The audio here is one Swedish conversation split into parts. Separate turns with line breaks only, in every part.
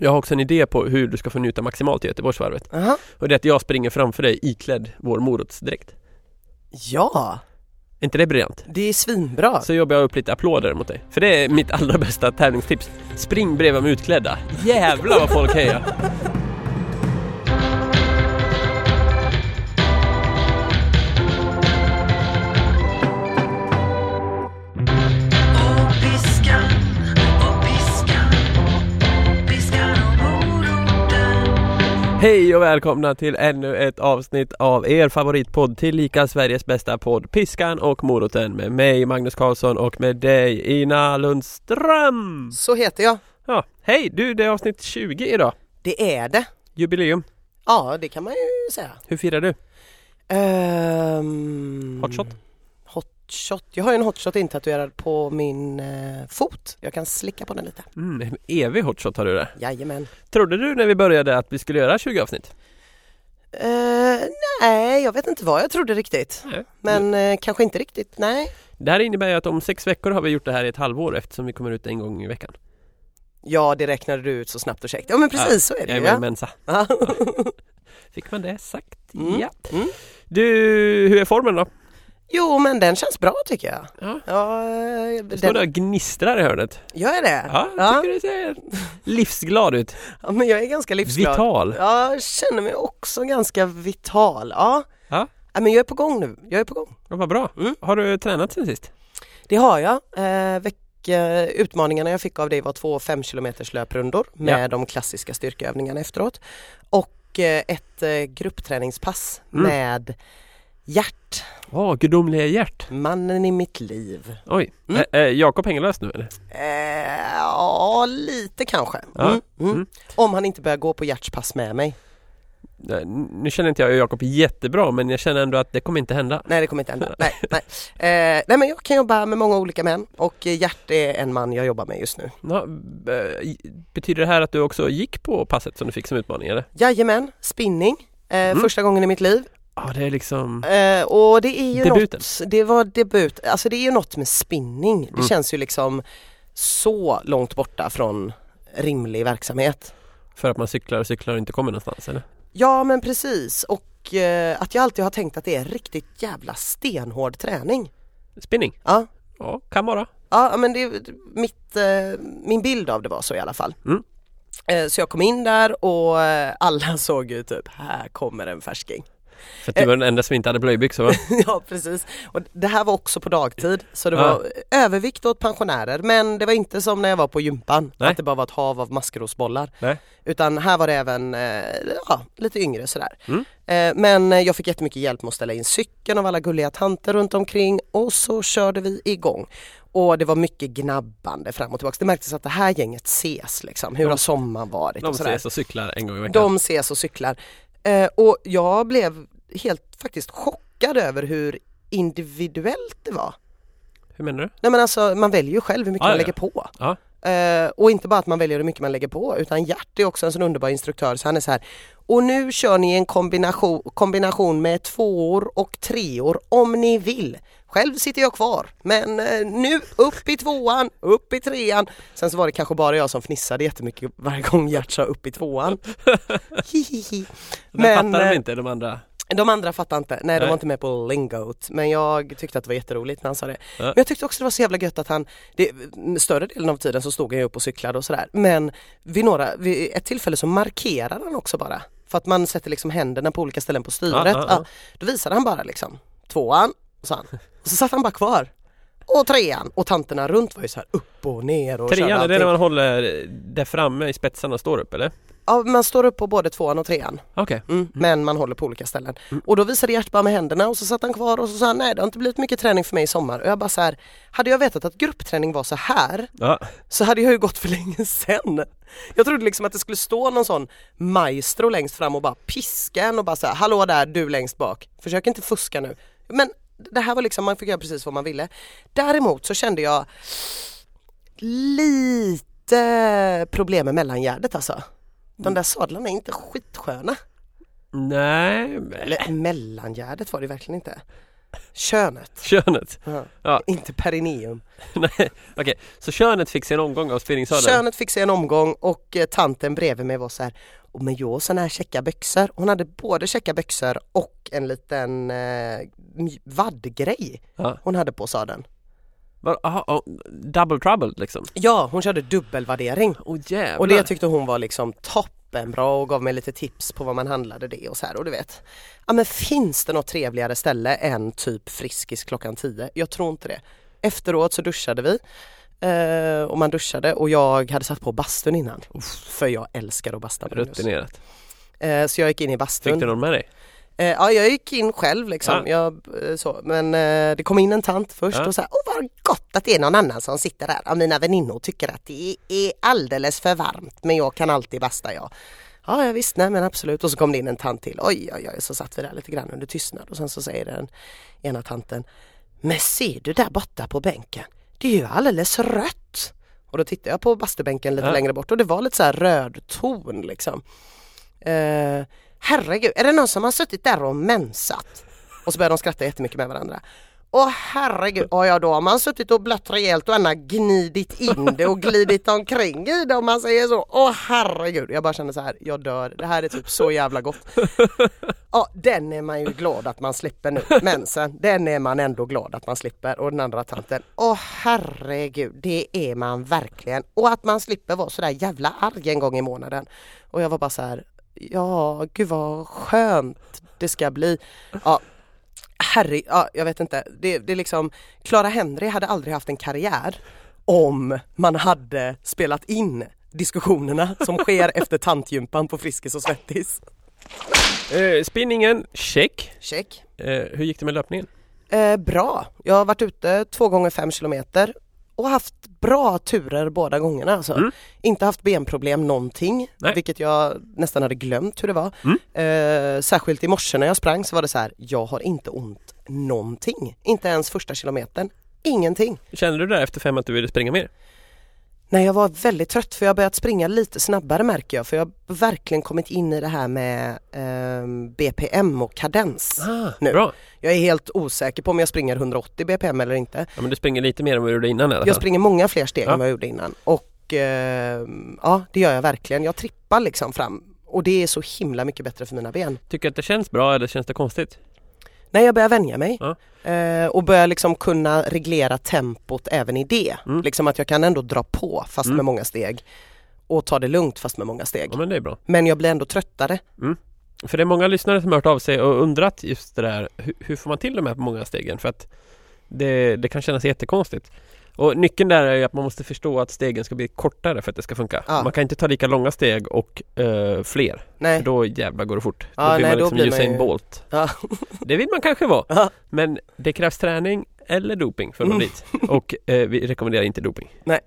Jag har också en idé på hur du ska få njuta maximalt i Göteborgsvarvet.
Aha.
Och det är att jag springer framför dig iklädd vår morotsdräkt.
Ja,
Är inte det briljant?
det är svinbra.
Så jobbar jag upp lite applåder mot dig. För det är mitt allra bästa tävlingstips. Spring bredvid de utklädda. Jävlar vad folk hejar!
Och piskan, och piskan, piskan och moroten
Hej och välkomna till ännu ett avsnitt av er favoritpodd tillika Sveriges bästa podd Piskan och moroten med mig Magnus Karlsson och med dig Ina Lundström!
Så heter jag.
Ja, hej! Du, det är avsnitt 20 idag.
Det är det.
Jubileum.
Ja, det kan man ju säga.
Hur firar du?
Um,
Hotshot?
Hotshot. Jag har ju en hotshot intatuerad på min eh, fot. Jag kan slicka på den lite.
Mm, en evig hotshot har du där.
Jajamän.
Trodde du när vi började att vi skulle göra 20 avsnitt?
Eh, nej, jag vet inte vad jag trodde riktigt.
Nej.
Men eh, kanske inte riktigt, nej.
Det här innebär ju att om sex veckor har vi gjort det här i ett halvår eftersom vi kommer ut en gång i veckan.
Ja, det räknade du ut så snabbt och käckt. Ja, men precis så är det
Jag är med i
ju. Ja.
Mensa.
Ja.
Fick man det sagt?
Mm.
Ja.
Mm.
Du, hur är formen då?
Jo, men den känns bra tycker jag.
Ja.
Ja, eh,
Du står
den,
där och gnistrar i hörnet.
gör jag det?
Ja, jag tycker du ser livsglad ut.
ja, men jag är ganska livsglad.
Vital.
Ja, jag känner mig också ganska vital. Ja.
Ja.
men jag är på gång nu. Jag är på gång.
Ja, vad bra.
Mm.
Har du tränat sen sist?
Det har jag. Eh, vecka, utmaningarna jag fick av dig var två 5 km löprundor med de klassiska styrkeövningarna efteråt. Och eh, ett eh, gruppträningspass
Mm.
med Hjärt,
Åh, gudomliga hjärt.
mannen i mitt liv.
Oj.
Mm.
Ä- ä, Jakob Hängelös nu eller?
Eh, ja, lite kanske.
Ja.
Mm, mm.
Mm.
Om han inte börjar gå på Hjärts pass med mig.
Nej, Nu känner inte jag Jakob jättebra men jag känner ändå att det kommer inte hända.
Nej det kommer inte hända. Nej, nej. Eh, nej men jag kan jobba med många olika män och eh, Gert är en man jag jobbar med just nu.
Ja, b- eh, i- betyder det här att du också gick på passet som du fick som utmaning eller?
Jajamän, spinning. Eh,
Mm.
Första gången i mitt liv.
Ja, det är liksom...
Eh, och det är ju
Debuten.
något, det var debut, alltså det är ju något med spinning. Det
Mm.
känns ju liksom så långt borta från rimlig verksamhet.
För att man cyklar och cyklar och inte kommer någonstans eller?
Ja men precis och eh, att jag alltid har tänkt att det är riktigt jävla stenhård träning.
Spinning?
Ja,
Ja, kan vara.
Ja men det, mitt, eh, min bild av det var så i alla fall.
Mm.
Eh, Så jag kom in där och eh, alla såg ju typ, här kommer en färsking.
För att du var den enda som inte hade blöjbyxor va?
ja precis. Och det här var också på dagtid så det
Ja.
var övervikt åt pensionärer men det var inte som när jag var på gympan
Nej.
att det bara var ett hav av maskrosbollar.
Nej.
Utan här var det även eh, ja, lite yngre sådär.
Mm.
Eh, Men eh, jag fick jättemycket hjälp med att ställa in cykeln av alla gulliga tanter runt omkring och så körde vi igång. Och det var mycket gnabbande fram och tillbaka. Det märktes att det här gänget ses liksom. Hur har sommaren varit?
De
och sådär.
ses och cyklar en gång i veckan.
De ses och cyklar. Eh, och jag blev helt faktiskt chockad över hur individuellt det var.
Hur menar du?
Nej men alltså man väljer ju själv hur mycket
Ja,
man
ja.
lägger på.
Ja.
Eh, och inte bara att man väljer hur mycket man lägger på utan Gert är också en sån underbar instruktör så han är så här och nu kör ni en kombination, kombination med tvåor och treor om ni vill. Själv sitter jag kvar men eh, nu upp i tvåan, upp i trean. Sen så var det kanske bara jag som fnissade jättemycket varje gång Gert sa upp i tvåan. Hihihi.
Men, fattar
eh,
de inte de andra?
de andra fattade inte, nej, de
Nej.
var inte med på lingot men jag tyckte att det var jätteroligt när han sa det.
Ja.
Men jag tyckte också det var så jävla gött att han, det, större delen av tiden så stod han ju upp och cyklade och sådär men vid, några, vid ett tillfälle så markerade han också bara för att man sätter liksom händerna på olika ställen på styret.
Ja, ja, ja.
Ja, då visade han bara liksom tvåan, sa han. Och så satt han bara kvar. Och trean och tanterna runt var ju så här upp och ner och körde
Trean, är det
allting.
när man håller där framme i spetsarna och står upp eller?
Ja, man står upp på både tvåan och trean.
Okej.
Mm, Men man håller på olika ställen. Och då visade Gert bara med händerna och så satt han kvar och så sa han nej det har inte blivit mycket träning för mig i sommar. Och jag bara så här, hade jag vetat att gruppträning var så här
Ja.
så hade jag ju gått för länge sedan. Jag trodde liksom att det skulle stå någon sån maestro längst fram och bara piska en och bara så här, hallå där du längst bak, försök inte fuska nu. Men det här var liksom, man fick göra precis vad man ville. Däremot så kände jag lite problem med mellangärdet alltså. De där sadlarna är inte skitsköna.
Nej, men-
Eller mellangärdet var det verkligen inte. Könet.
Könet.
Ja.
Ja.
Inte perineum.
Nej, okej. Så könet fick sin omgång av spinningsalen?
Könet fick se en omgång och eh, tanten bredvid mig var så här och men jag har såna här checka byxor. Hon hade både checka byxor och en liten eh, mj- vaddgrej
Ja.
hon hade på sadeln.
Var, aha, oh, double trouble liksom?
Ja, hon körde dubbelvärdering.
Åh oh, jävlar!
Och det tyckte hon var liksom toppenbra och gav mig lite tips på vad man handlade det och så här och du vet. Ja men finns det något trevligare ställe än typ Friskis klockan 10? Jag tror inte det. Efteråt så duschade vi eh, och man duschade och jag hade satt på bastun innan. För jag älskar att basta. Magnus.
Rutinerat.
Eh, så jag gick in i
Fick
bastun.
du någon med dig?
Eh, ja jag gick in själv liksom. Jag, eh, så. Men eh, det kom in en tant först
Ja.
och sa Åh vad gott att det är någon annan som sitter där. Ja, mina väninnor tycker att det är alldeles för varmt men jag kan alltid basta jag. Ja, ja visst, nej men absolut. Och så kom det in en tant till. Oj, oj, oj. Så satt vi där lite grann under tystnad och sen så säger den ena tanten Men ser du där borta på bänken? Det är ju alldeles rött. Och då tittade jag på bastubänken lite
Ja.
längre bort och det var lite så här röd ton liksom. Eh, herregud, är det någon som har suttit där och mensat? Och så börjar de skratta jättemycket med varandra. Åh herregud, ja ja då har man suttit och blött rejält och Anna gnidit in det och glidit omkring i det om man säger så. Åh herregud, jag bara känner så här, jag dör, det här är typ så jävla gott. Ja den är man ju glad att man slipper nu, mensen, den är man ändå glad att man slipper. Och den andra tanten, åh herregud, det är man verkligen. Och att man slipper vara så där jävla arg en gång i månaden. Och jag var bara så här, ja gud vad skönt det ska bli. Ja, Harry, ja, jag vet inte. Det, det är liksom, Clara Henry hade aldrig haft en karriär om man hade spelat in diskussionerna som sker efter tantgympan på Friskis och Svettis.
Eh, spinningen, check.
Check.
Eh, hur gick det med löpningen?
Eh, bra. Jag har varit ute två gånger fem kilometer och haft bra turer båda gångerna. Alltså.
Mm.
Inte haft benproblem någonting,
Nej.
vilket jag nästan hade glömt hur det var.
Mm.
Eh, särskilt i morse när jag sprang så var det så här, jag har inte ont någonting. Inte ens första kilometern. Ingenting.
Kände du där efter fem att du ville springa mer?
Nej jag var väldigt trött för jag har börjat springa lite snabbare märker jag för jag har verkligen kommit in i det här med ehm, BPM och kadens.
Ah,
Nu.
Bra!
Jag är helt osäker på om jag springer 180 BPM eller inte.
Ja, men du springer lite mer än vad du gjorde innan i alla fall.
Jag springer många fler steg
Ja.
än vad jag gjorde innan och eh, ja det gör jag verkligen. Jag trippar liksom fram och det är så himla mycket bättre för mina ben.
Tycker du att det känns bra eller känns det konstigt?
Nej jag börjar vänja mig
Ja.
eh, och börjar liksom kunna reglera tempot även i det.
Mm.
Liksom att jag kan ändå dra på fast
Mm.
med många steg och ta det lugnt fast med många steg.
Ja men det är bra.
Men jag blir ändå tröttare.
För det är många lyssnare som har hört av sig och undrat just det där hur, hur får man till de här många stegen? För att det, det kan kännas jättekonstigt. Och nyckeln där är ju att man måste förstå att stegen ska bli kortare för att det ska funka.
Ja.
Man kan inte ta lika långa steg och eh, fler.
Nej.
För då jävlar går det fort.
Ja,
då blir
nej,
man
då
liksom
blir man
Usain
ju-
Bolt.
Ja.
Det vill man kanske vara.
Ja.
Men det krävs träning eller doping för att nå
Mm.
dit. Och eh, vi rekommenderar inte doping.
Nej.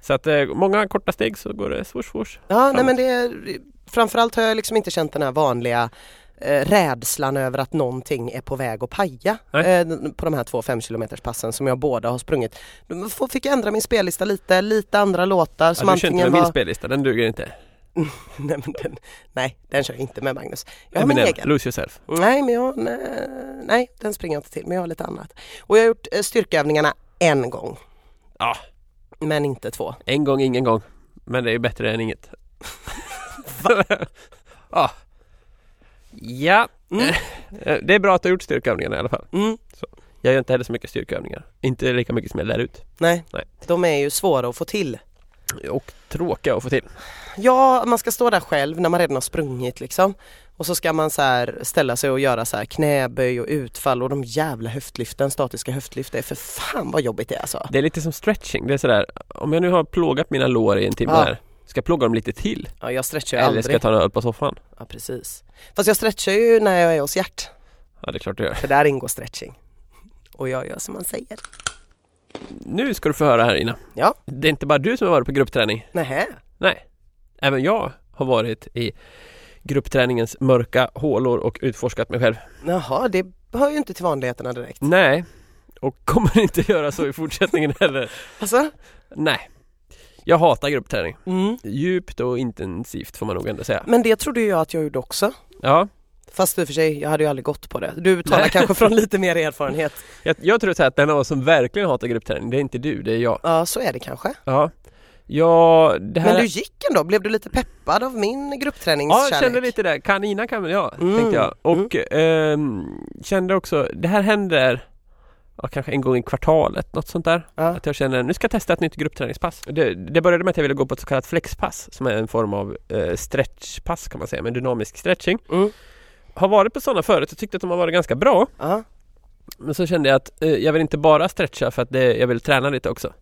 Så att eh, många korta steg så går det svårt, svårt.
Ja, nej men det, framförallt har jag liksom inte känt den här vanliga eh, rädslan över att någonting är på väg att paja
Nej.
eh, på de här två 5 km passen som jag båda har sprungit. Då f- Fick jag ändra min spellista lite, lite andra låtar som
Ja, du kör inte med
antingen var...
min spellista, den duger inte.
nej, men den, nej, den kör jag inte med Magnus. Jag har min
Eminem,
egen.
lose yourself.
Nej, men jag, nej, nej, den springer jag inte till men jag har lite annat. Och jag har gjort eh, styrkeövningarna en gång
Ja,
men inte två.
en gång ingen gång. Men det är bättre än inget. ja. Ja.
Mm.
Eh, Det är bra att du har gjort styrkeövningarna i alla fall.
Mm.
Jag gör inte heller så mycket styrkeövningar. Inte lika mycket som jag lär ut.
Nej.
Nej.
de är ju svåra att få till.
Och tråkiga att få till.
Ja, man ska stå där själv när man redan har sprungit liksom. Och så ska man så här ställa sig och göra så här knäböj och utfall och de jävla höftlyften, statiska höftlyft. Det är för fan vad jobbigt det är alltså.
Det är lite som stretching. Det är sådär, om jag nu har plågat mina lår i en timme
Ja.
här. Ska jag plåga dem lite till?
Ja, jag stretchar ju
Eller ska
aldrig.
jag ta en öl på soffan?
Ja, precis. Fast jag stretchar ju när jag är hos Gert,
Ja, det är klart du gör.
för där ingår stretching. Och jag gör som man säger.
Nu ska du få höra här Ina.
Ja.
Det är inte bara du som har varit på gruppträning.
Nähä.
Nej. Även jag har varit i gruppträningens mörka hålor och utforskat mig själv.
Jaha, det hör ju inte till vanligheterna direkt.
Nej. Och kommer inte göra så i fortsättningen heller.
Alltså?
Nej. Jag hatar gruppträning.
Mm.
Djupt och intensivt får man nog ändå säga.
Men det trodde ju jag att jag gjorde också.
Ja.
Fast i och för sig, jag hade ju aldrig gått på det. Du talar kanske från lite mer erfarenhet.
Jag, jag tror så här att den av oss som verkligen hatar gruppträning, det är inte du, det är jag.
Ja, så är det kanske.
Ja. Ja, det här...
Men du gick ändå, blev du lite peppad av min
Ja,
gruppträningskärlek?
jag kände lite det. Kanina kan väl jag,
Mm.
tänkte jag. Och ehm, kände också, det här händer ja, kanske en gång i kvartalet, något sånt där.
Ja.
Att jag känner, nu ska jag testa ett nytt gruppträningspass. Det, det började med att jag ville gå på ett så kallat flexpass, som är en form av eh, stretchpass kan man säga, med dynamisk stretching.
Mm.
Har varit på sådana förut och tyckte att de har varit ganska bra.
Ja.
Men så kände jag att eh, jag vill inte bara stretcha för att det, jag vill träna lite också.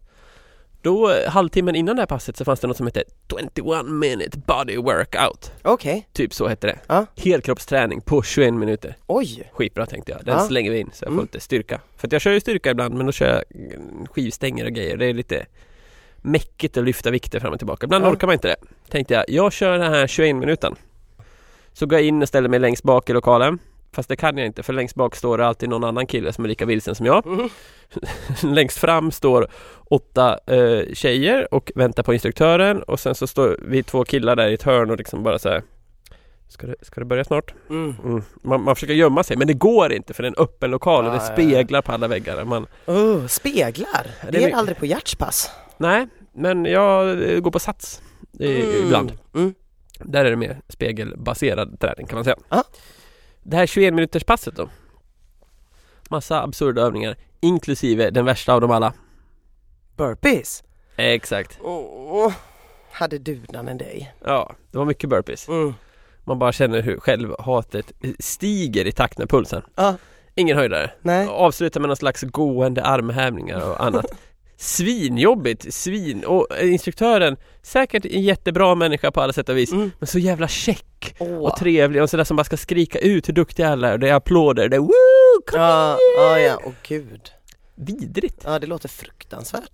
Då, eh, halvtimmen innan det här passet, så fanns det något som hette 21 minute body workout.
Okej,
Typ så hette det.
Ja.
Helkroppsträning på 21 minuter.
oj.
Skitbra tänkte jag. Den
Ja.
slänger vi in så jag får
Mm.
lite styrka. För att jag kör ju styrka ibland men då kör jag mm, skivstänger och grejer. Det är lite mäckigt att lyfta vikter fram och tillbaka. Ibland
Ja.
orkar man inte det. Tänkte jag, jag kör den här 21 minuten. Så går jag in och ställer mig längst bak i lokalen. Fast det kan jag inte för längst bak står det alltid någon annan kille som är lika vilsen som jag.
Mm.
längst fram står åtta eh, tjejer och väntar på instruktören och sen så står vi två killar där i ett hörn och liksom bara så här. Ska det, ska det börja snart?
Mm.
Mm. Man, man försöker gömma sig men det går inte för det är en öppen lokal och
Ja,
det
ja, ja.
speglar på alla väggar. Man,
Oh, speglar, det,
Det är
är
my-
aldrig på hjärtspass.
nej, men jag eh, går på sats eh,
Mm.
ibland.
Mm.
Där är det mer spegelbaserad träning kan man säga.
Ja.
Det här 21 minuters passet då. Massa absurda övningar inklusive den värsta av dem alla.
Burpees.
Exakt.
Oh. Hade dudan än dig.
Ja, det var mycket burpees.
Mm.
Man bara känner hur självhatet stiger i takt med pulsen.
Ja.
Ingen höjdare.
Nej.
Och avsluta med någon slags gående armhävningar och annat. Svinjobbigt, svin och instruktören säkert en jättebra människa på alla sätt och vis
Mm.
men så jävla check
Åh.
och trevlig och sådär som bara ska skrika ut hur duktiga alla är och det är applåder, det är woo, kom
Ja,
igen!
ja, ja, åh gud.
Vidrigt!
Ja, det låter fruktansvärt.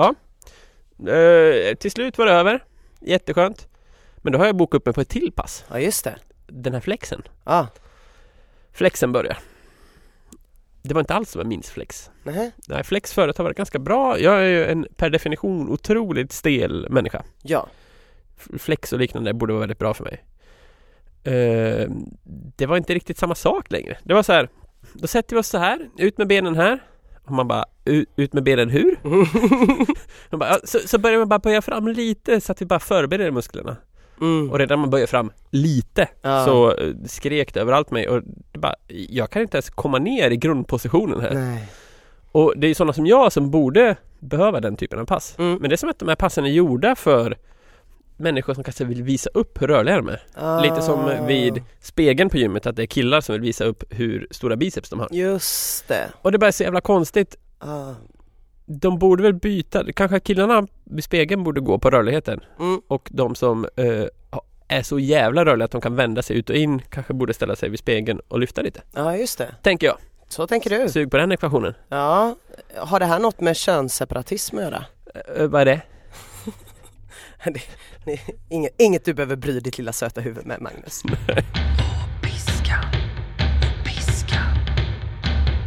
Eh, till slut var det över, jätteskönt Men då har jag bokat upp mig på ett till pass,
Ja, just det.
den här flexen
Ja,
Flexen börjar Det var inte alls som jag minns flex
nej.
Nej, flex förut har varit ganska bra, jag är ju en per definition otroligt stel människa
Ja,
flex och liknande borde vara väldigt bra för mig. Eh, det var inte riktigt samma sak längre. Det var så här, då sätter vi oss så här, ut med benen här. Och man bara, "U- ut med benen hur? Man bara, "Ja, så, så börjar man bara böja fram lite så att vi bara förbereder musklerna.
mm.
Och redan man böjer fram lite
Ja.
så eh, skrek det överallt mig och det bara, jag kan inte ens komma ner i grundpositionen här.
nej.
Och det är ju sådana som jag som borde behöva den typen av pass.
Mm.
Men det är som att de här passen är gjorda för människor som kanske vill visa upp hur rörliga de är.
Ah.
Lite som vid spegeln på gymmet, att det är killar som vill visa upp hur stora biceps de har.
Just det.
Och det är bara så jävla konstigt.
Ja.
De borde väl byta, kanske killarna vid spegeln borde gå på rörligheten
Mm.
och de som eh, ha- är så jävla rörliga att de kan vända sig ut och in kanske borde ställa sig vid spegeln och lyfta lite.
ja, just det.
Tänker jag.
Så tänker du.
Sug på den ekvationen.
Ja, har det här något med könsseparatism att göra?
Eh, vad är det?
Nej, Inget, inget du behöver bry ditt lilla söta huvud med Magnus.
Piska, piska,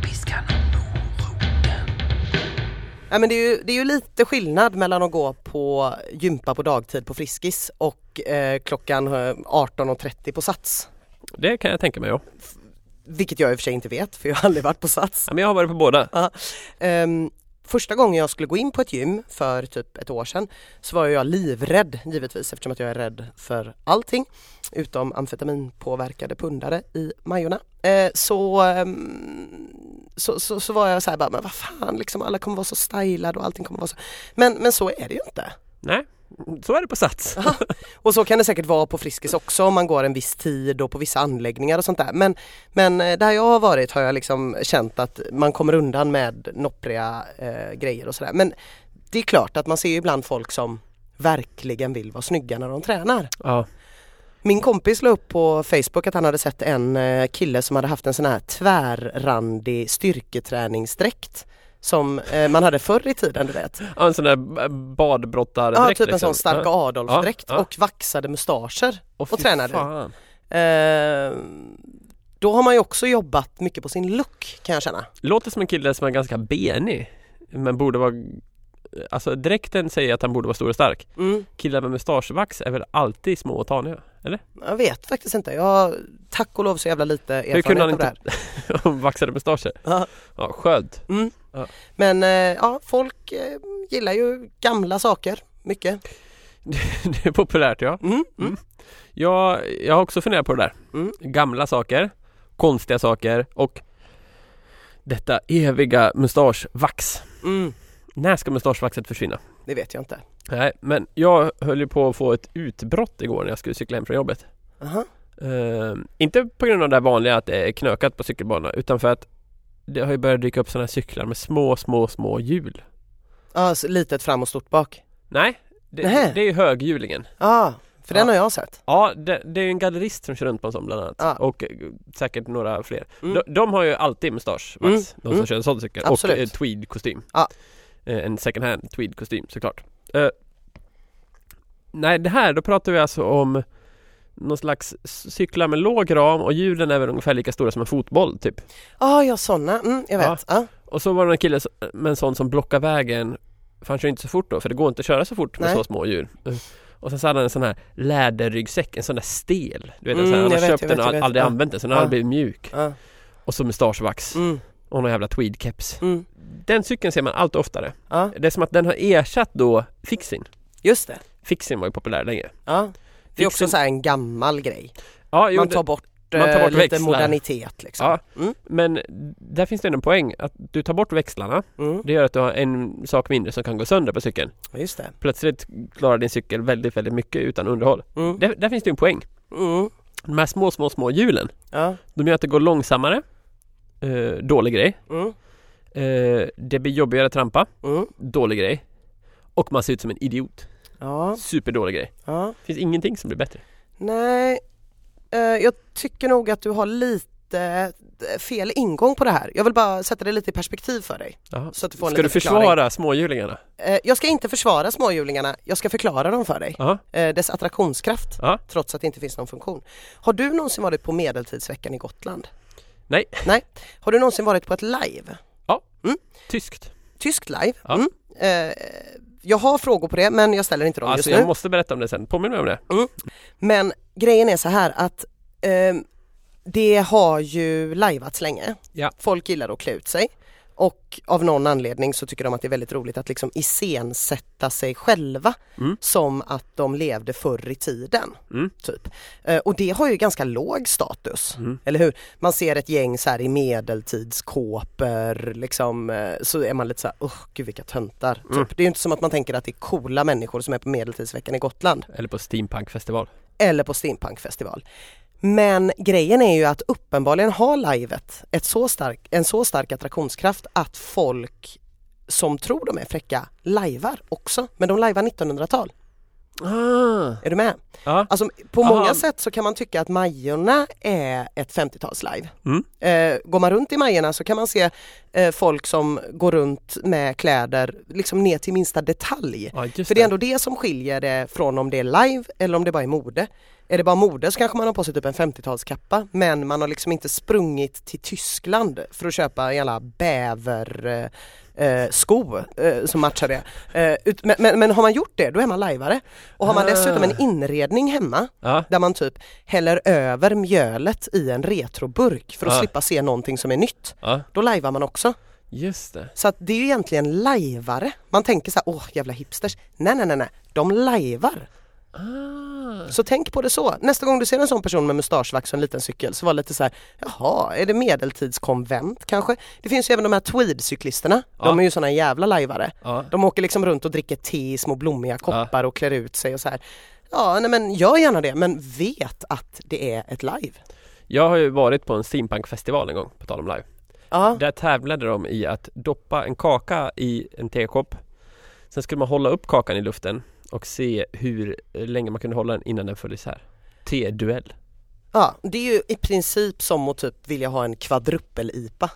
piska någon moroten.
Ja, men det, är ju, det är ju lite skillnad mellan att gå på gympa på dagtid på Friskis och eh, klockan eh, 18.30 på Sats.
Det kan jag tänka mig ja.
Vilket jag i och för sig inte vet för jag har aldrig varit på Sats.
ja men jag har varit på båda.
Ehm, första gången jag skulle gå in på ett gym för typ ett år sedan så var jag livrädd givetvis eftersom att jag är rädd för allting utom amfetaminpåverkade pundare i Majorna. Eh, så, ehm, så, så, så var jag så här bara, men vad fan liksom alla kommer vara så stylade och allting kommer vara så. Men, men så är det ju inte.
Nej, så är det på Sats.
Och så kan det säkert vara på Friskis också om man går en viss tid och på vissa anläggningar och sånt där. Men, men eh, där jag har varit har jag liksom känt att man kommer undan med noppriga eh, grejer och sådär. Men det är klart att man ser ju ibland folk som verkligen vill vara snygga när de tränar.
Ja.
Min kompis la upp på Facebook att han hade sett en eh, kille som hade haft en sån här tvärrandig styrketräningsdräkt som eh, man hade förr i tiden du vet.
Ja, en sån där b- badbrottardräkt.
Ja, typ en
liksom.
sån Starka Adolf-dräkt
Ja, ja.
och vaxade mustascher.
och, fy
tränade.
Fan.
Eh, då har man ju också jobbat mycket på sin look kan jag känna.
Låter som en kille som är ganska benig men borde vara Alltså dräkten säger att han borde vara stor och stark.
Mm.
Killar med mustaschvax är väl alltid små och taniga? Eller?
Jag vet faktiskt inte. Jag har tack och lov så jävla lite
Hur
erfarenhet
kunde han
av det
inte
här.
vaxade mustascher?
Ja.
Ja, sköld.
Mm.
Ja.
Men eh, ja, folk eh, gillar ju gamla saker mycket.
Det är populärt ja.
Mm. Mm.
Mm. Jag, jag har också funderat på det där.
Mm.
Gamla saker, konstiga saker och detta eviga mustaschvax.
Mm.
När ska mustaschvaxet försvinna?
Det vet jag inte.
Nej, men jag höll ju på att få ett utbrott igår när jag skulle cykla hem från jobbet.
Aha.
Ehm, inte på grund av det där vanliga att det är knökat på cykelbanorna utan för att det har ju börjat dyka upp sådana här cyklar med små, små, små hjul.
Ja, så litet fram och stort bak.
Nej, det,
Nähä.
det är ju höghjulingen.
Ja, för den
Ja.
har jag sett.
Ja, det, det är ju en gallerist som kör runt på en sån bland annat
Ja.
och eh, säkert några fler.
Ah. Mm.
De, de har ju alltid mustaschvax,
Mm.
de som
Mm.
kör en sån cykel
Absolut. Ah.
och eh, tweedkostym.
Ja.
Eh, en second hand tweedkostym såklart. Eh, nej, det här, då pratar vi alltså om någon slags c- cyklar med låg ram och hjulen är väl ungefär lika stora som en fotboll typ.
Ja, jag sådana. Mm, jag
Ja.
vet. Ja.
Och så var det en kille som- med en sån som blockade vägen för han kör inte så fort då för det går inte att köra så fort med
Nej.
så små djur. Och sen så hade han en sån här läderryggsäck, en sån där stel. Du vet, en sån
Mm,
här, han har
jag vet,
köpt
jag
den
vet,
och
jag vet.
aldrig
Ja.
använt den så den har
Ja.
blivit mjuk.
Ja.
Och så mustaschvax
Mm,
och någon jävla tweedkeps.
mm,
Den cykeln ser man allt oftare.
ja.
Det är som att den har ersatt då Fixin.
Just det.
Fixin var ju populär länge.
Ja. Det är också
Fixin-
så här en gammal grej.
Ja, jo,
Man
det-
tar bort,
man tar
eh,
bort
lite
växlar.
modernitet liksom.
Ja.
Mm,
Men där finns det ändå en poäng att du tar bort växlarna.
mm.
Det gör att du har en sak mindre som kan gå sönder på cykeln.
Just det.
Plötsligt klarar din cykel väldigt, väldigt mycket utan underhåll.
Mm.
Där, där finns det ju en poäng.
Mm.
De här små, små, små hjulen,
Ja.
de gör att det går långsammare. Eh, dålig grej.
Mm.
Eh, det blir jobbigare att trampa.
Mm.
Dålig grej. Och man ser ut som en idiot.
Ja.
Superdålig grej.
ja.
Finns ingenting som blir bättre.
Nej, eh, jag tycker nog att du har lite eh, fel ingång på det här. Jag vill bara sätta det lite i perspektiv för dig.
Jaha.
Så att du får en
Ska du
liten förklaring.
försvara småhjulingarna?
Eh, Jag ska inte försvara småhjulingarna, jag ska förklara dem för dig.
Ja.
Eh, Dess attraktionskraft,
Ja.
trots att det inte finns någon funktion. Har du någonsin varit på Medeltidsveckan i Gotland?
Nej.
Nej. Har du någonsin varit på ett live?
Tyskt.
Tyskt live?
Ja.
Mm. Eh, Jag har frågor på det men jag ställer inte dem
Alltså
just nu.
jag måste berätta om det sen. Påminn mig om det.
Men grejen är så här att ehm, det har ju lajvats länge.
Ja.
Folk gillar att klä ut sig och av någon anledning så tycker de att det är väldigt roligt att liksom iscensätta sig själva
Mm.
som att de levde förr i tiden.
Mm.
Typ. Eh, Och det har ju ganska låg status,
Mm.
eller hur? Man ser ett gäng så här i medeltidskåpor, liksom, eh, så är man lite så här, åh gud vilka töntar.
Mm.
Typ. Det är ju inte som att man tänker att det är coola människor som är på medeltidsveckan i Gotland
Eller på steampunkfestival.
eller på steampunkfestival. Men grejen är ju att uppenbarligen har livet ett så stark, en så stark attraktionskraft att folk som tror de är fräcka lajvar också. Men de lajvar 1900-tal.
Ah.
Är du med?
Ja.
Alltså, på
Aha.
många sätt så kan man tycka att Majorna är ett 50-talslive.
Mm.
Eh, går man runt i Majorna så kan man se eh, folk som går runt med kläder liksom ner till minsta detalj.
ja, just
För det är ändå det som skiljer det från om det är live eller om det bara är mode. Är det bara mode så kanske man har på sig typ en 50-talskappa men man har liksom inte sprungit till Tyskland för att köpa en jävla bäver eh, eh, sko eh, som matchar det. Eh, ut, men, men, men har man gjort det då är man lajvare. Och har man
Ah.
dessutom en inredning hemma
Ja.
där man typ häller över mjölet i en retroburk för att
Ah.
slippa se någonting som är nytt.
ja,
Då lajvar man också.
just det.
Så att det är ju egentligen lajvare. Man tänker så här, åh jävla hipsters. Nej, nej, nej, nej. de lajvar.
Ah.
Så tänk på det så. Nästa gång du ser en sån person med mustaschvax och en liten cykel så var lite så här, jaha, är det medeltidskonvent kanske? Det finns ju även de här tweedcyklisterna. De
Ja.
är ju såna jävla lajvare.
Ja.
De åker liksom runt och dricker te i små blommiga koppar och klär ut sig och så här. Ja, nej men gör gärna det, men vet att det är ett live.
Jag har ju varit på en steampunkfestival en gång, på tal om live.
Ja,
Där tävlade de i att doppa en kaka i en tekopp. Sen skulle man hålla upp kakan i luften och se hur länge man kunde hålla den innan den föll isär. T-duell.
ja, det är ju i princip som att typ vilja ha en kvadruppel-IPA.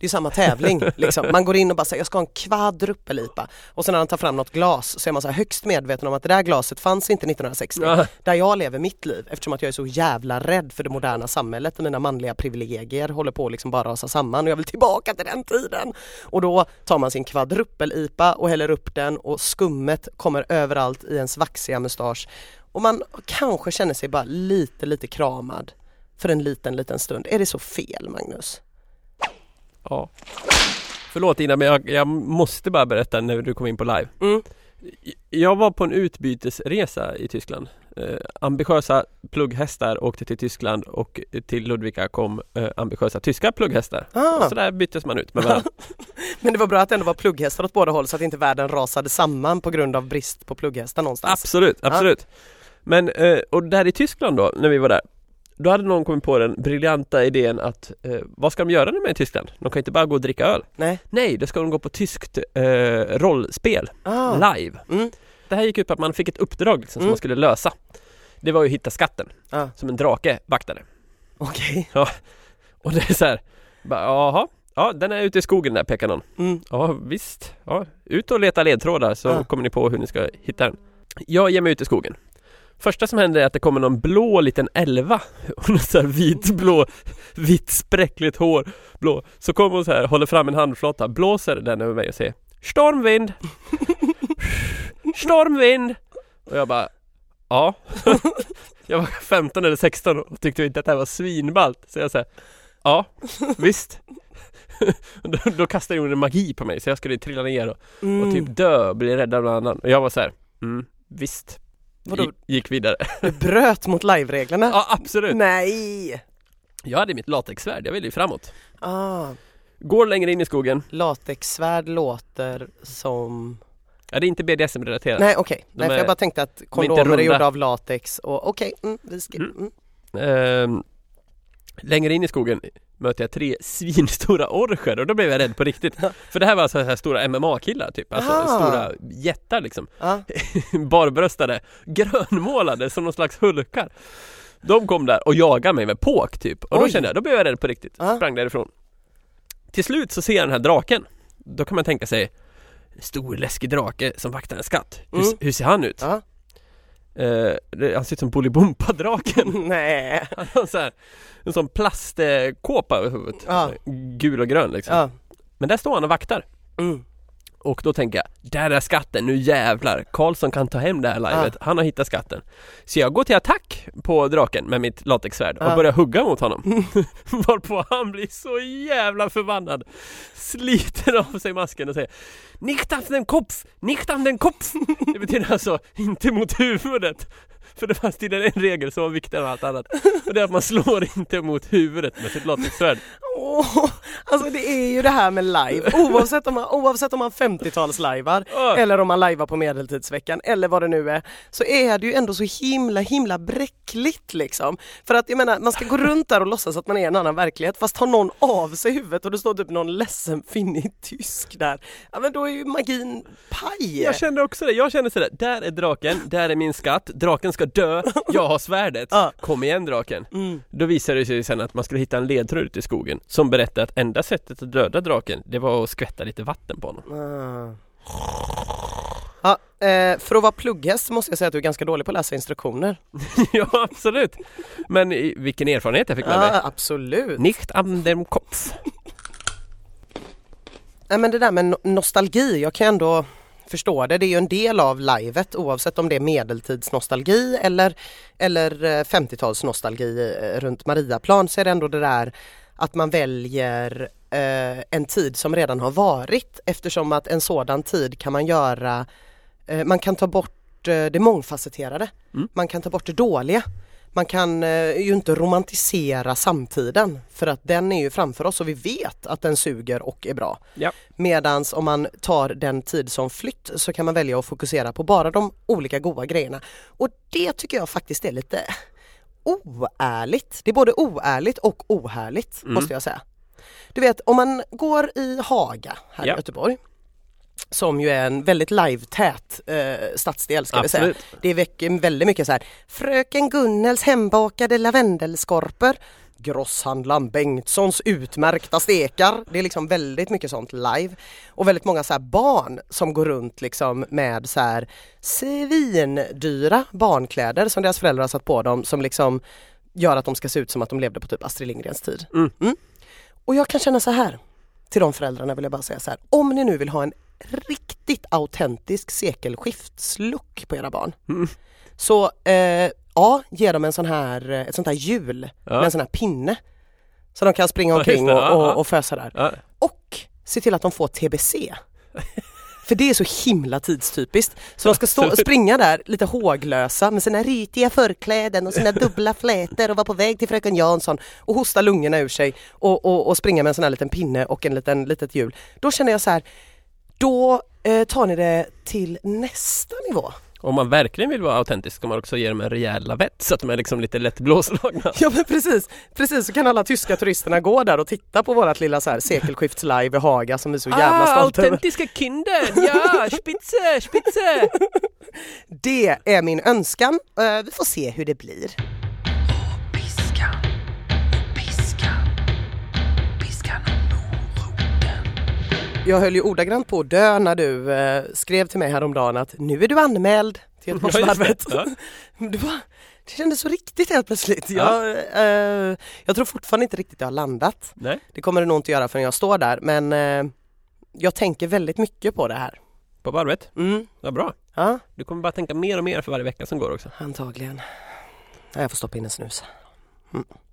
Det är samma tävling liksom. Man går in och bara säger jag ska ha en kvadrupel-IPA och sen när han tar fram något glas så är man så här högst medveten om att det där glaset fanns inte 1960
Ja.
där jag lever mitt liv eftersom att jag är så jävla rädd för det moderna samhället och mina manliga privilegier håller på att liksom bara rasa samman och jag vill tillbaka till den tiden. Och då tar man sin kvadrupel-IPA och häller upp den och skummet kommer överallt i ens vaxiga mustasch och man kanske känner sig bara lite, lite kramad för en liten, liten stund. Är det så fel Magnus?
Ja. Förlåt Ina, men jag, jag måste bara berätta när du kom in på live.
Mm.
Jag var på en utbytesresa i Tyskland. Eh, ambitiösa plugghästar åkte till Tyskland och till Ludvika kom eh, ambitiösa tyska plugghästar.
Ah,
Och så där byttes man ut med varandra.
men det var bra att det ändå var plugghästar åt båda håll så att inte världen rasade samman på grund av brist på plugghästar någonstans.
Absolut, absolut. Men, eh, och där i Tyskland då, när vi var där, då hade någon kommit på den briljanta idén att eh, vad ska de göra med i Tyskland? De kan inte bara gå och dricka öl.
Nej.
Nej, då ska de gå på tyskt eh, rollspel,
Ah.
live.
Mm.
Det här gick ut på att man fick ett uppdrag liksom, som
Mm.
man skulle lösa. Det var ju att hitta skatten,
Ah.
som en drake vaktade.
Okej.
Och det är så här, bara, jaha, ja den är ute i skogen där pekar någon.
Mm.
Ja visst, ja, ut och leta ledtrådar så
Ja.
kommer ni på hur ni ska hitta den. Jag ger mig ut i skogen. Första som händer är att det kommer någon blå liten elva och någon så här vit blå, vitt spräckligt hår, blå. Så kommer hon så här, håller fram en handflata, blåser den över mig och säger Stormvind! Stormvind! Och jag bara Ja. jag var 15 eller 16 och tyckte inte att det här var svinballt. Så jag säger Ja, visst. då, då kastade hon en magi på mig så jag skulle trilla ner och,
Mm.
och typ dö och bli räddad av någon annan. Och jag var så här, mm, visst.
Vadå?
Gi- gick vidare.
Du bröt mot live-reglerna?
ja, absolut.
Nej!
Jag hade mitt latexsvärd, jag ville ju framåt.
Ah,
Går längre in i skogen.
latexsvärd låter som...
Ja, det är inte BDSM-relaterat.
Nej okej, Nej, för
är-
jag bara tänkte att kondomer
runda.
är gjorda av latex och okej, mm, vi ska...
Mm.
Mm.
Ehm, längre in i skogen möter jag tre svinstora orcher och då blev jag rädd på riktigt. För det här var så här stora MMA-killar typ, alltså
Ah.
stora jättar liksom.
Ah,
Barbröstade, grönmålade som någon slags hulkar. De kom där och jagade mig med påk typ och då
Oj.
kände jag, då blev jag rädd på riktigt.
Ah.
Sprang därifrån. Till slut så ser jag den här draken. Då kan man tänka sig Stor läskig drake som vaktar en skatt. Hur,
Mm.
hur ser han ut?
ah.
Eh, det- han ser ut som Bolibompa-draken.
Nej,
Han har så här, en sån plastkåpa över huvudet.
Ja.
Gul och grön liksom.
ja.
Men där står han och vaktar.
Mm.
Och då tänker jag, där är skatten, nu jävlar! Karlsson kan ta hem det här livet, han har hittat skatten. Så jag går till attack på draken med mitt latexsvärd och
Ja.
börjar hugga mot honom. Varpå han blir så jävla förbannad. Sliter av sig masken och säger Nicht auf den Kopf! Nicht auf den Kopf! Det betyder alltså, inte mot huvudet. För det fanns tydligen en regel som var viktigare än allt annat. Och det är att man slår inte mot huvudet med sitt latexsvärd.
Åh, alltså det är ju det här med live, oavsett om man, oavsett om man 50-talslivar
Ja.
eller om man livar på medeltidsveckan eller vad det nu är så är det ju ändå så himla himla bräckligt liksom. För att jag menar man ska gå runt där och låtsas att man är i en annan verklighet fast har någon av sig huvudet och det står typ någon ledsen finnig tysk där. Ja men då är ju magin paj.
Jag kände också det, jag kände sådär, där är draken, där är min skatt, draken ska dö, jag har svärdet,
Ja.
kom igen draken.
Mm.
Då visade det sig sen att man skulle hitta en ledtråd ute i skogen som berättade att enda sättet att döda draken, det var att skvätta lite vatten på honom.
Ah. Ja, eh, för att vara plugghäst så måste jag säga att du är ganska dålig på att läsa instruktioner.
ja, absolut! Men i- vilken erfarenhet jag fick med mig.
Ja, Ah, absolut.
Nicht an dem Kopf.
Nej men det där med no- nostalgi, jag kan ändå förstå det. Det är ju en del av livet oavsett om det är medeltidsnostalgi eller, eller eh, 50-talsnostalgi eh, runt Mariaplan så är det ändå det där att man väljer eh, en tid som redan har varit eftersom att en sådan tid kan man göra, eh, man kan ta bort eh, det mångfacetterade,
Mm.
man kan ta bort det dåliga. Man kan eh, ju inte romantisera samtiden för att den är ju framför oss och vi vet att den suger och är bra.
Ja.
Medan om man tar den tid som flytt så kan man välja att fokusera på bara de olika goda grejerna. Och det tycker jag faktiskt är lite oärligt. Det är både oärligt och ohärligt
Mm.
måste jag säga. Du vet om man går i Haga här
Ja.
i Göteborg som ju är en väldigt live-tät eh, stadsdel ska vi säga.
Absolut.
Det väcker väldigt mycket så här Fröken Gunnels hembakade lavendelskorpor grosshandlaren Bengtssons utmärkta stekar. Det är liksom väldigt mycket sånt live. Och väldigt många så här barn som går runt liksom med så här svindyra barnkläder som deras föräldrar har satt på dem som liksom gör att de ska se ut som att de levde på typ Astrid Lindgrens tid.
Mm.
Och jag kan känna så här till de föräldrarna vill jag bara säga så här. Om ni nu vill ha en riktigt autentisk sekelskiftslook på era barn.
Mm.
Så eh, ja, ge dem en sån här, eh, ett sånt här hjul med
Ja.
en sån här pinne. Så de kan springa
Ja, just
omkring
det. Ja,
och,
ja.
och, och fösa där.
Ja.
Och se till att de får TBC. För det är så himla tidstypiskt. Så de ska stå, springa där lite håglösa med sina ritiga förkläden och sina dubbla flätor och vara på väg till fröken Jansson och hosta lungorna ur sig och, och, och springa med en sån här liten pinne och en liten litet hjul. Då känner jag så här, då eh, tar ni det till nästa nivå.
Om man verkligen vill vara autentisk ska man också ge dem en rejäl lavett så att de är liksom lite lätt blåslagna.
Ja men precis, precis så kan alla tyska turisterna gå där och titta på vårat lilla så här sekelskiftslive i Haga som vi är så
Ah,
jävla stolta över.
autentiska kinder! Ja, spitze, spitze!
Det är min önskan, Eh, vi får se hur det blir.
Piskan, piskan, piskan och moroten.
Jag höll ju ordagrant på att dö när du eh, skrev till mig häromdagen att nu är du anmäld till Göteborgsvarvet.
Ja,
det, var- det kändes så riktigt helt plötsligt. Jag, eh, jag tror fortfarande inte riktigt jag har landat.
Nej.
Det kommer det nog inte göra förrän jag står där men eh, jag tänker väldigt mycket på det här.
På varvet?
Mm.
Ja, bra.
Ja,
Du kommer bara tänka mer och mer för varje vecka som går också.
antagligen. Ja, Jag får stoppa in en snus.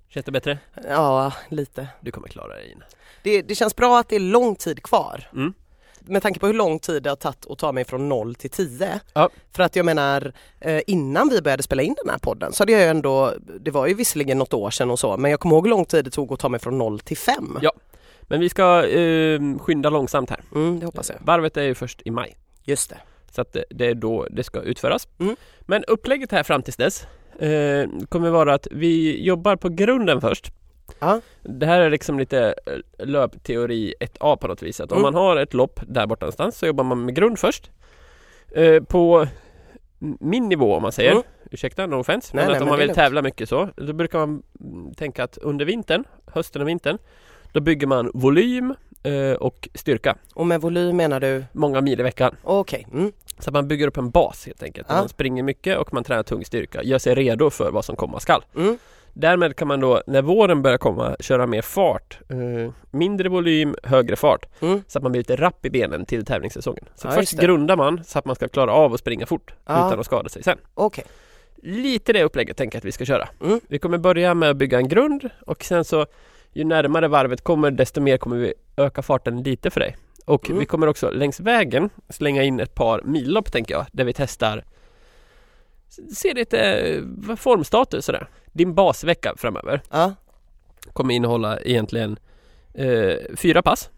Känns det bättre?
Ja, lite.
Du kommer klara dig Ina.
Det, det känns bra att det är lång tid kvar.
Mm.
Med tanke på hur lång tid det har tagit att ta mig från 0 till 10.
Ja.
För att jag menar eh, innan vi började spela in den här podden så hade jag ju ändå, det var ju visserligen något år sedan och så, men jag kommer ihåg hur lång tid det tog att ta mig från 0 till 5.
Ja. Men vi ska eh, skynda långsamt här.
Mm, det hoppas jag.
Varvet är ju först i maj.
Just det.
Så att det- det är då det ska utföras.
Mm.
Men upplägget här fram tills dess eh, kommer vara att vi jobbar på grunden först.
Ja.
Det här är liksom lite eh, löpteori 1A på något vis. Att om
Mm.
man har ett lopp där borta någonstans så jobbar man med grund först. Eh, på m- min nivå om man säger,
Mm.
ursäkta no offense,
Nej,
men
nej,
att om
men
man
det
vill
är lugnt.
tävla mycket så, då brukar man mm, tänka att under vintern, hösten och vintern, då bygger man volym eh, och styrka,
Och med volym menar du?
många mil i veckan.
Okej. Mm.
Så att man bygger upp en bas helt enkelt.
Ja.
Man springer mycket och man tränar tung styrka. Gör sig redo för vad som komma skall.
Mm.
Därmed kan man då när våren börjar komma köra mer fart. Eh, mindre volym, högre fart.
Mm.
Så att man blir lite rapp i benen till tävlingssäsongen. Så
Ja,
först
just det.
grundar man så att man ska klara av att springa fort
Ja.
utan att skada sig sen.
Okej.
Lite det upplägget tänker jag att vi ska köra.
Mm.
Vi kommer börja med att bygga en grund och sen så ju närmare varvet kommer desto mer kommer vi öka farten lite för dig. Och
Mm.
vi kommer också längs vägen slänga in ett par millopp tänker jag där vi testar Se lite eh, formstatus sådär. Din basvecka framöver
Ja.
kommer innehålla egentligen eh, fyra pass.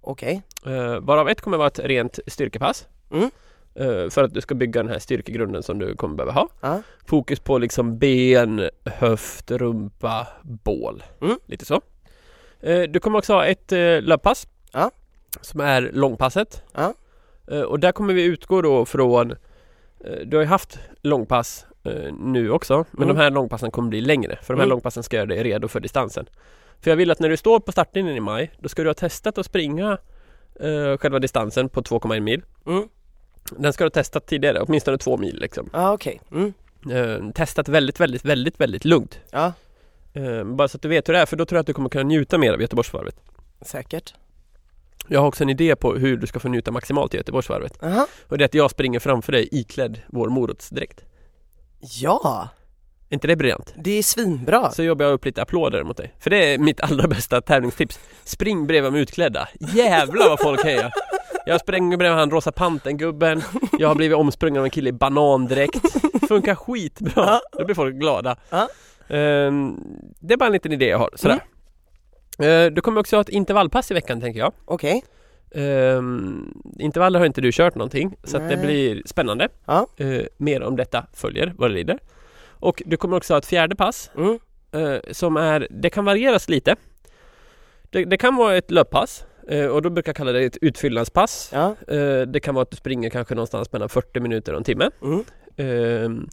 Okej.
Eh, varav ett kommer vara ett rent styrkepass.
Mm.
Eh, för att du ska bygga den här styrkegrunden som du kommer behöva ha.
Ja.
Fokus på liksom ben, höft, rumpa, bål.
Mm.
Lite så. Eh, Du kommer också ha ett eh, löppass.
Ja.
Som är långpasset.
Ja.
Eh, Och där kommer vi utgå då från eh, Du har ju haft långpass eh, nu också men
Mm.
de här långpassen kommer bli längre för de här
Mm.
långpassen ska göra dig redo för distansen. För jag vill att när du står på startlinjen i maj då ska du ha testat att springa eh, själva distansen på 2,1 mil.
Mm.
Den ska du ha testat tidigare, åtminstone två mil liksom
Ja, okej. Mm.
eh, testat väldigt, väldigt, väldigt, väldigt lugnt.
Ja,
Eh, bara så att du vet hur det är, för då tror jag att du kommer kunna njuta mer av Göteborgsvarvet.
säkert.
Jag har också en idé på hur du ska få njuta maximalt i Göteborgsvarvet.
Aha.
Och det är att jag springer framför dig iklädd vår morotsdräkt.
Ja,
Är inte det briljant?
det är svinbra.
Så jobbar jag upp lite applåder mot dig. För det är mitt allra bästa tävlingstips. Spring bredvid mig utklädda. Jävlar vad folk hejar! Jag springer bredvid han Rosa Panten-gubben. Jag har blivit omsprungen av en kille i banandräkt. Funkar skitbra. Då blir folk glada.
Ja.
Ehm, det är bara en liten idé jag har. Sådär.
Mm.
Eh, du kommer också ha ett intervallpass i veckan tänker jag.
Okej.
Ehm, intervaller har inte du kört någonting så att det
Nej.
blir spännande.
Ja.
Eh, mer om detta följer vad det lider. Och du kommer också ha ett fjärde pass
Mm.
eh, som är, det kan varieras lite. Det, det kan vara ett löppass eh, och då brukar jag kalla det ett utfyllnadspass.
Ja.
Eh, det kan vara att du springer kanske någonstans mellan 40 minuter och en timme. Ehm,
Mm.
Eh,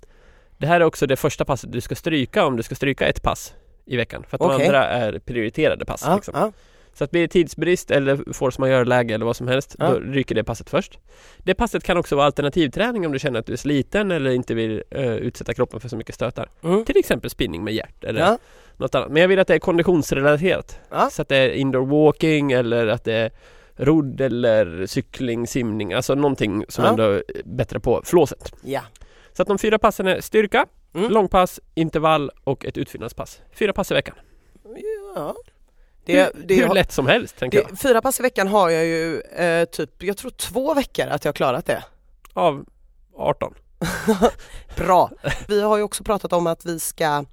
det här är också det första passet du ska stryka om du ska stryka ett pass i veckan för att de
Okej.
andra är prioriterade pass
Ja,
liksom.
ja.
Så att blir det tidsbrist eller force majeure-läge eller vad som helst,
Ja.
då ryker det passet först. Det passet kan också vara alternativträning om du känner att du är sliten eller inte vill eh, utsätta kroppen för så mycket stötar.
Mm.
Till exempel spinning med hjärt eller
Ja.
något annat. Men jag vill att det är konditionsrelaterat.
Ja.
Så att det är indoor walking eller att det är rodd eller cykling, simning, alltså någonting som
Ja.
ändå är bättre på flåset.
ja.
Så att de fyra passen är styrka,
Mm.
långpass, intervall och ett utfyllnadspass. Fyra pass i veckan.
ja. Det,
hur,
det,
hur lätt som helst tänker jag.
det, fyra pass i veckan har jag ju eh, typ, jag tror två veckor att jag har klarat det.
Av 18.
Bra! Vi har ju också pratat om att vi ska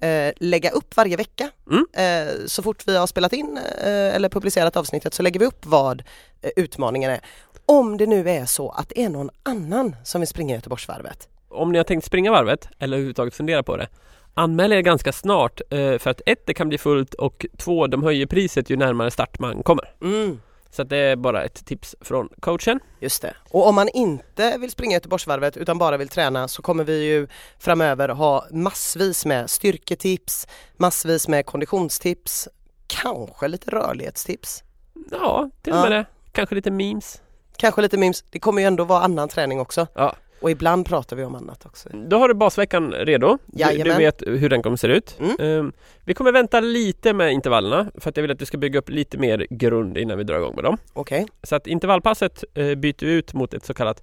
eh, lägga upp varje vecka.
Mm.
Eh, så fort vi har spelat in eh, eller publicerat avsnittet så lägger vi upp vad eh, utmaningen är. Om det nu är så att det är någon annan som vill springa Göteborgsvarvet.
om ni har tänkt springa varvet eller överhuvudtaget fundera på det Anmäl er ganska snart eh, för att ett, det kan bli fullt och två, de höjer priset ju närmare start man kommer.
Mm.
Så att det är bara ett tips från coachen.
Just det. Och om man inte vill springa Göteborgsvarvet utan bara vill träna så kommer vi ju framöver ha massvis med styrketips, massvis med konditionstips, kanske lite rörlighetstips,
Ja, till och med det. Kanske lite memes.
kanske lite memes. Det kommer ju ändå vara annan träning också.
Ja.
Och ibland pratar vi om annat också.
Då har du basveckan redo. Du, du
Jajamän.
vet hur den kommer se ut.
Mm.
Eh, vi kommer vänta lite med intervallerna för att jag vill att du ska bygga upp lite mer grund innan vi drar igång med dem.
Okej,
Så att intervallpasset eh, byter vi ut mot ett så kallat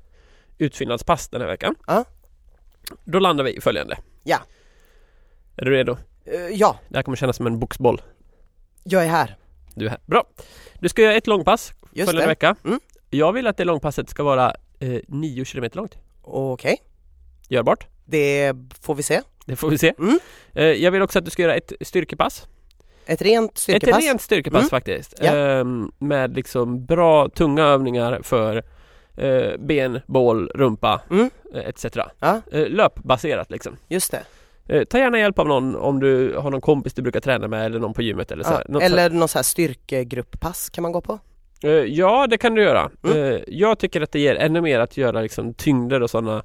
utfyllnadspass den här veckan.
Ja.
Då landar vi i följande.
Ja.
Är du redo?
Eh, ja,
Det här kommer kännas som en boxboll.
jag är här.
Du är här. Bra! Du ska göra ett långpass
Just
följande
det.
vecka.
Mm.
Jag vill att det långpasset ska vara eh, 9 km långt.
Okej,
Görbart.
det får vi se.
Det får vi se.
Mm.
Eh, jag vill också att du ska göra ett styrkepass.
Ett rent styrkepass.
Ett rent styrkepass
Mm.
faktiskt.
Ja.
Ehm, med liksom bra tunga övningar för eh, ben, bål, rumpa
Mm.
eh, etc.
Ja.
Eh, löpbaserat liksom.
Just det.
Eh, ta gärna hjälp av någon om du har någon kompis du brukar träna med eller någon på gymmet eller så.
Ja.
här. Något
Eller någon så här styrkegrupppass kan man gå på.
Eh, Ja, det kan du göra.
Mm.
Eh, Jag tycker att det ger ännu mer att göra liksom tyngder och sådana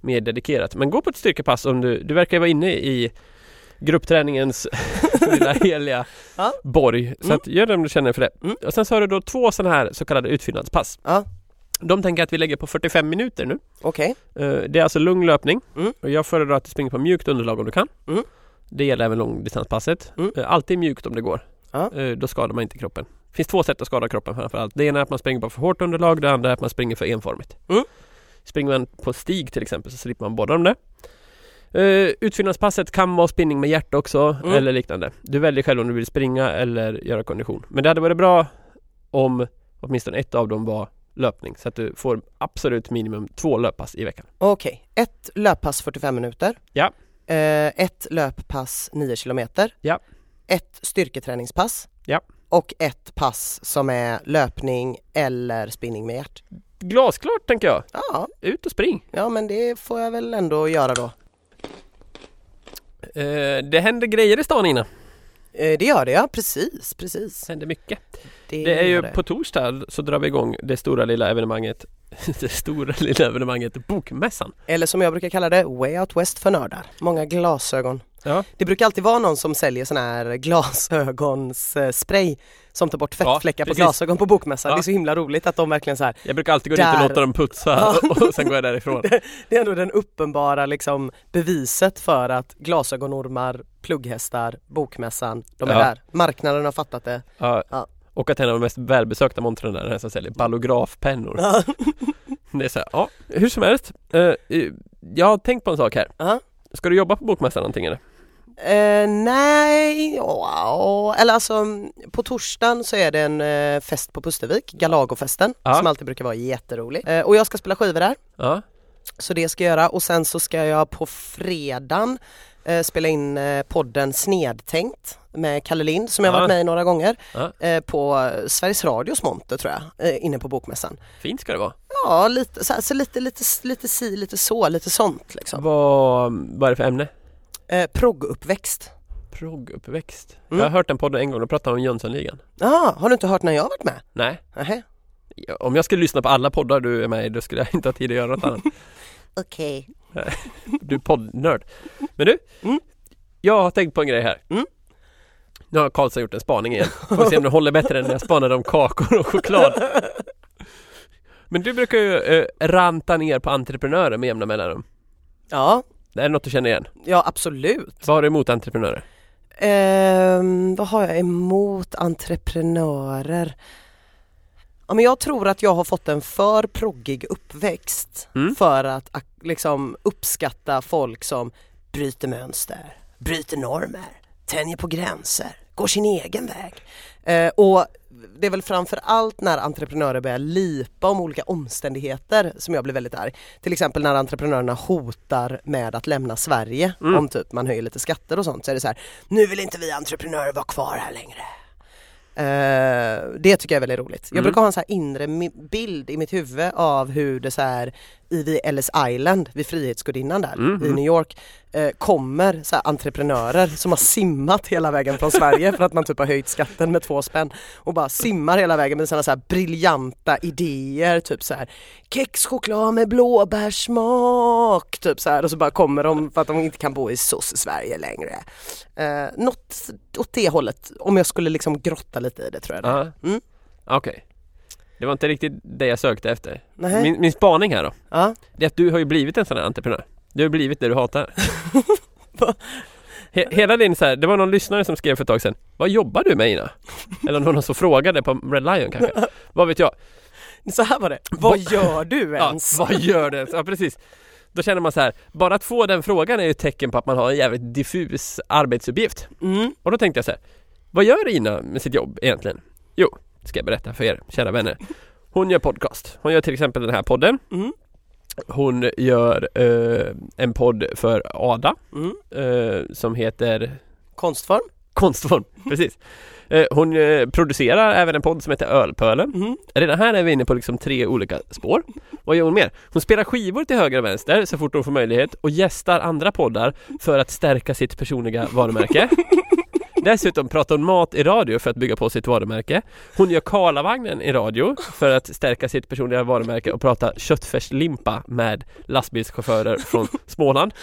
mer dedikerat. Men gå på ett styrkepass om du, du verkar ju vara inne i gruppträningens lilla heliga
Ja.
borg. Så
Mm.
att gör det om du känner för det.
Mm.
Och sen så har du då två sådana här så kallade utfyllnadspass.
Ja.
De tänker jag att vi lägger på 45 minuter nu.
Okej,
Eh, Det är alltså lugn löpning
Mm.
och jag föredrar att du springer på mjukt underlag om du kan.
Mm.
Det gäller även långdistanspasset.
Mm.
Eh, Alltid mjukt om det går.
Ja.
Eh, Då skadar man inte kroppen. Det finns två sätt att skada kroppen framförallt. Det ena är att man springer på för hårt underlag, det andra är att man springer för enformigt.
Mm.
Springer man på stig till exempel så slipper man båda de där. Eh, Utfyllnadspasset kan vara spinning med hjärta också
Mm.
eller liknande. Du väljer själv om du vill springa eller göra kondition. Men det hade varit bra om åtminstone ett av dem var löpning så att du får absolut minimum två löppass i veckan.
okej. Ett löppass 45 minuter.
Ja.
Eh, ett löppass 9 kilometer.
Ja.
Ett styrketräningspass.
Ja.
Och ett pass som är löpning eller spinning med hjärt.
Glasklart tänker jag!
Ja,
Ut och spring!
ja men det får jag väl ändå göra då.
Eh, det händer grejer i stan innan.
Eh, det gör det ja, precis, precis.
Det händer mycket.
Det,
Det är ju
gör det.
på torsdag så drar vi igång det stora lilla evenemanget Det stora lilla evenemanget Bokmässan.
Eller som jag brukar kalla det, Way Out West för nördar. Många glasögon.
Ja.
Det brukar alltid vara någon som säljer sån här glasögonsspray som tar bort fettfläckar på
precis.
glasögon på bokmässan.
Ja.
Det är så himla roligt att de verkligen så här,
Jag brukar alltid gå dit och
Där.
låta dem putsa och sen går jag därifrån.
det är ändå den uppenbara liksom beviset för att glasögonormar, plugghästar, bokmässan, de är
Ja.
där. Marknaden har fattat det.
Ja.
Ja.
Och att en av de mest välbesökta montrarna är den här som säljer ballografpennor.
Ja.
Det är så här, ja, hur som helst. Eh, eh, jag har tänkt på en sak här.
Ja.
Ska du jobba på Bokmässan någonting eller?
Eh, nej, ja, eller alltså på torsdagen så är det en eh, fest på Pustervik, Galagofesten,
Ja.
som alltid brukar vara jätterolig. Eh, och jag ska spela skivor där.
Ja.
Så det ska jag göra och sen så ska jag på fredagen eh, spela in eh, podden Snedtänkt med Kalle Lind som jag
Ja.
varit med i några gånger
Ja.
eh, på Sveriges Radios monter tror jag, eh, inne på Bokmässan.
Fint ska det vara.
Ja, lite, så, här, så lite, lite, lite si, lite så, lite sånt liksom.
Vad, vad är det för ämne?
Eh, Progguppväxt.
Progguppväxt.
Mm.
Jag har hört den podden en gång, de pratade om Jönssonligan.
Jaha, har du inte hört när jag har varit med?
Nej,
Nähä.
om jag skulle lyssna på alla poddar du är med i då skulle jag inte ha tid att göra något annat.
Okej.
Du är poddnörd. Men du,
Mm.
jag har tänkt på en grej här.
Mm.
Nu har Karlsson gjort en spaning igen. Får se om det håller bättre än när jag spanade om kakor och choklad. Men du brukar ju eh, ranta ner på entreprenörer med jämna mellanrum.
Ja,
Det är något du känner igen.
ja absolut.
Vad har du emot entreprenörer?
Ehm, vad har jag emot entreprenörer? Ja, men jag tror att jag har fått en för proggig uppväxt
Mm.
för att ak- liksom, uppskatta folk som bryter mönster, bryter normer, tänjer på gränser, går sin egen väg. Eh, och det är väl framför allt när entreprenörer börjar lipa om olika omständigheter som jag blir väldigt arg. Till exempel när entreprenörerna hotar med att lämna Sverige
Mm.
om typ man höjer lite skatter och sånt så är det så här, nu vill inte vi entreprenörer vara kvar här längre. Eh, det tycker jag är väldigt roligt. Jag
Mm.
brukar ha en så här inre mi- bild i mitt huvud av hur det så här i vid Ellis Island, vid Frihetsgudinnan där
Mm,
i
mm.
New York, eh, kommer så här entreprenörer som har simmat hela vägen från Sverige för att man typ har höjt skatten med två spänn och bara simmar hela vägen med sina så här briljanta idéer, typ så här kexchoklad med blåbärssmak, typ så här och så bara kommer de för att de inte kan bo i sosse-Sverige längre. Eh, något åt det hållet, om jag skulle liksom grotta lite i det tror jag. det.
Ja.
Mm.
Ah. Okej. Det var inte riktigt det jag sökte efter.
Nej.
Min, min spaning här då.
Ja.
Det är att du har ju blivit en sån här entreprenör. Du har blivit det du hatar.
Va?
He, hela din så här, det var någon lyssnare som skrev för ett tag sedan. Vad jobbar du med Ina? Eller någon som frågade på Red Lion kanske. Vad vet jag?
Så här var det, vad gör du ens?
Ja, vad gör det? Ja, precis. Då känner man så här, bara att få den frågan är ju ett tecken på att man har en jävligt diffus arbetsuppgift.
Mm.
Och då tänkte jag så här, vad gör Ina med sitt jobb egentligen? Jo, ska jag berätta för er, kära vänner. Hon gör podcast. Hon gör till exempel den här podden.
Mm.
Hon gör eh, en podd för Ada
Mm.
eh, som heter
Konstform.
Konstform. Precis. Eh, hon eh, producerar även en podd som heter Ölpölen.
Mm.
Redan här är vi inne på liksom tre olika spår. Vad gör hon mer? Hon spelar skivor till höger och vänster så fort hon får möjlighet och gästar andra poddar för att stärka sitt personliga varumärke. Dessutom pratar hon mat i radio för att bygga på sitt varumärke. Hon gör Karlavagnen i radio för att stärka sitt personliga varumärke och prata köttfärslimpa med lastbilschaufförer från Småland.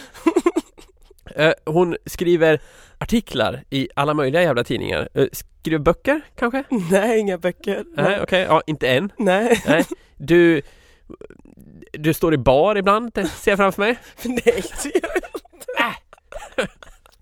Eh, Hon skriver artiklar i alla möjliga jävla tidningar. Eh, Skriver böcker kanske?
Nej, inga böcker.
Nej, okej. Ja, inte än.
Nej.
Nej, du, du står i bar ibland, det ser jag framför mig.
Nej.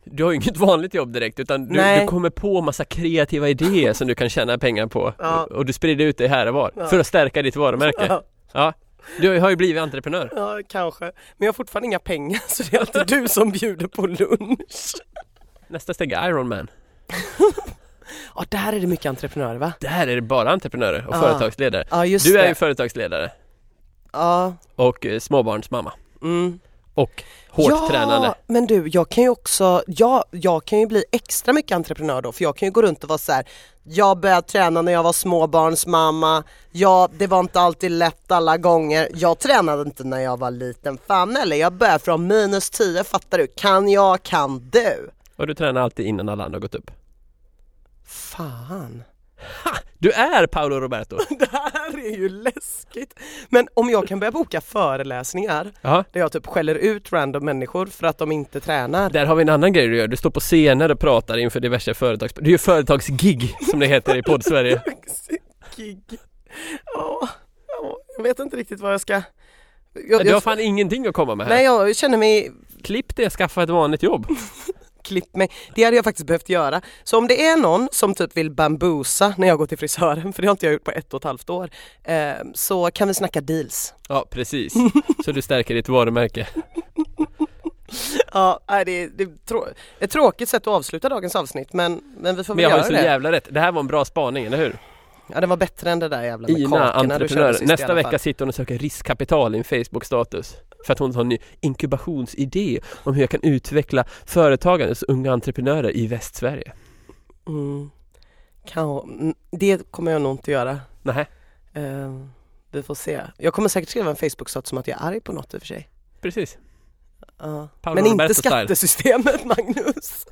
Du har ju inget vanligt jobb direkt utan du,
Nej.
du kommer på massa kreativa idéer som du kan tjäna pengar på
Ja.
och, och du sprider ut det här och var
Ja.
för att stärka ditt varumärke.
Ja,
Du har ju blivit entreprenör.
ja, kanske. Men jag har fortfarande inga pengar så det är alltid du som bjuder på lunch.
Nästa steg är Ironman.
Ja, där är det mycket entreprenörer va?
Där är det bara entreprenörer och
Ja.
företagsledare.
Ja, just
Du är
det.
ju företagsledare
Ja.
och eh, småbarnsmamma
Mm.
och hårt
ja,
tränande.
men du, jag kan ju också, ja, jag kan ju bli extra mycket entreprenör då för jag kan ju gå runt och vara så här. Jag började träna när jag var småbarnsmamma, ja det var inte alltid lätt alla gånger, jag tränade inte när jag var liten, fan eller jag började från minus 10 fattar du, kan jag kan du.
Och du tränar alltid innan alla andra har gått upp.
Fan.
Du är Paolo Roberto!
Det här är ju läskigt. Men om jag kan börja boka föreläsningar
Ja.
där jag typ skäller ut random människor för att de inte tränar.
Där har vi en annan grej du gör. Du står på scener och pratar inför diverse företags... Du gör företagsgig som det heter i poddsverige.
Gig. Ja, ja, jag vet inte riktigt vad jag ska... Jag,
Du har
jag,
fan ingenting att komma med här.
nej, jag känner mig
Klipp det, skaffa ett vanligt jobb.
klipp mig. Det hade jag faktiskt behövt göra. Så om det är någon som typ vill bambusa när jag går till frisören, för det har inte jag gjort på ett och ett halvt år, eh, så kan vi snacka deals.
Ja, precis. Så du stärker ditt varumärke.
Ja, nej, det är, det är trå- ett tråkigt sätt att avsluta dagens avsnitt, men, men vi får
Men
väl
jag har ju
göra
så
det.
jävla rätt. Det här var en bra spaning, eller hur?
Ja den var bättre än det där jävla med
Ina,
kakorna du körde
entreprenör.
sist i
Nästa
alla
vecka
fall.
sitter hon och söker riskkapital i en Facebook-status. För att hon har en ny inkubationsidé om hur jag kan utveckla företagandets unga entreprenörer i Västsverige.
Mm. Kan, mm, det kommer jag nog inte göra.
Nej,
Eh, vi får se. Jag kommer säkert skriva en Facebook-stat som att jag är arg på något i och för sig.
precis.
Ja.
Paolo
Men inte
Roberto-style.
skattesystemet Magnus.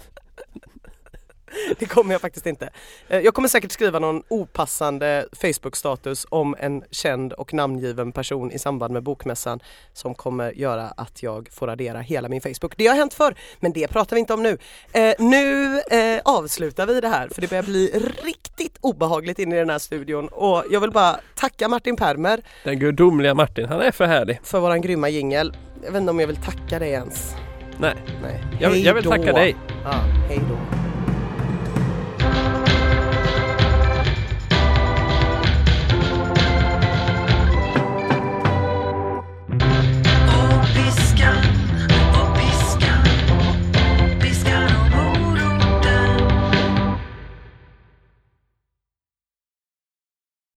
det kommer jag faktiskt inte. Eh, Jag kommer säkert skriva någon opassande Facebook-status om en känd och namngiven person i samband med bokmässan som kommer göra att jag får radera hela min Facebook. Det har hänt förr, men det pratar vi inte om nu. Eh, nu eh, avslutar vi det här för det börjar bli riktigt obehagligt inne i den här studion och jag vill bara tacka Martin Permer
Den gudomliga Martin, han är för härlig.
för våran grymma jingel. Jag vet inte om jag vill tacka dig ens.
Nej,
Nej.
jag, jag vill
Hej då.
tacka dig.
Ja, hej då.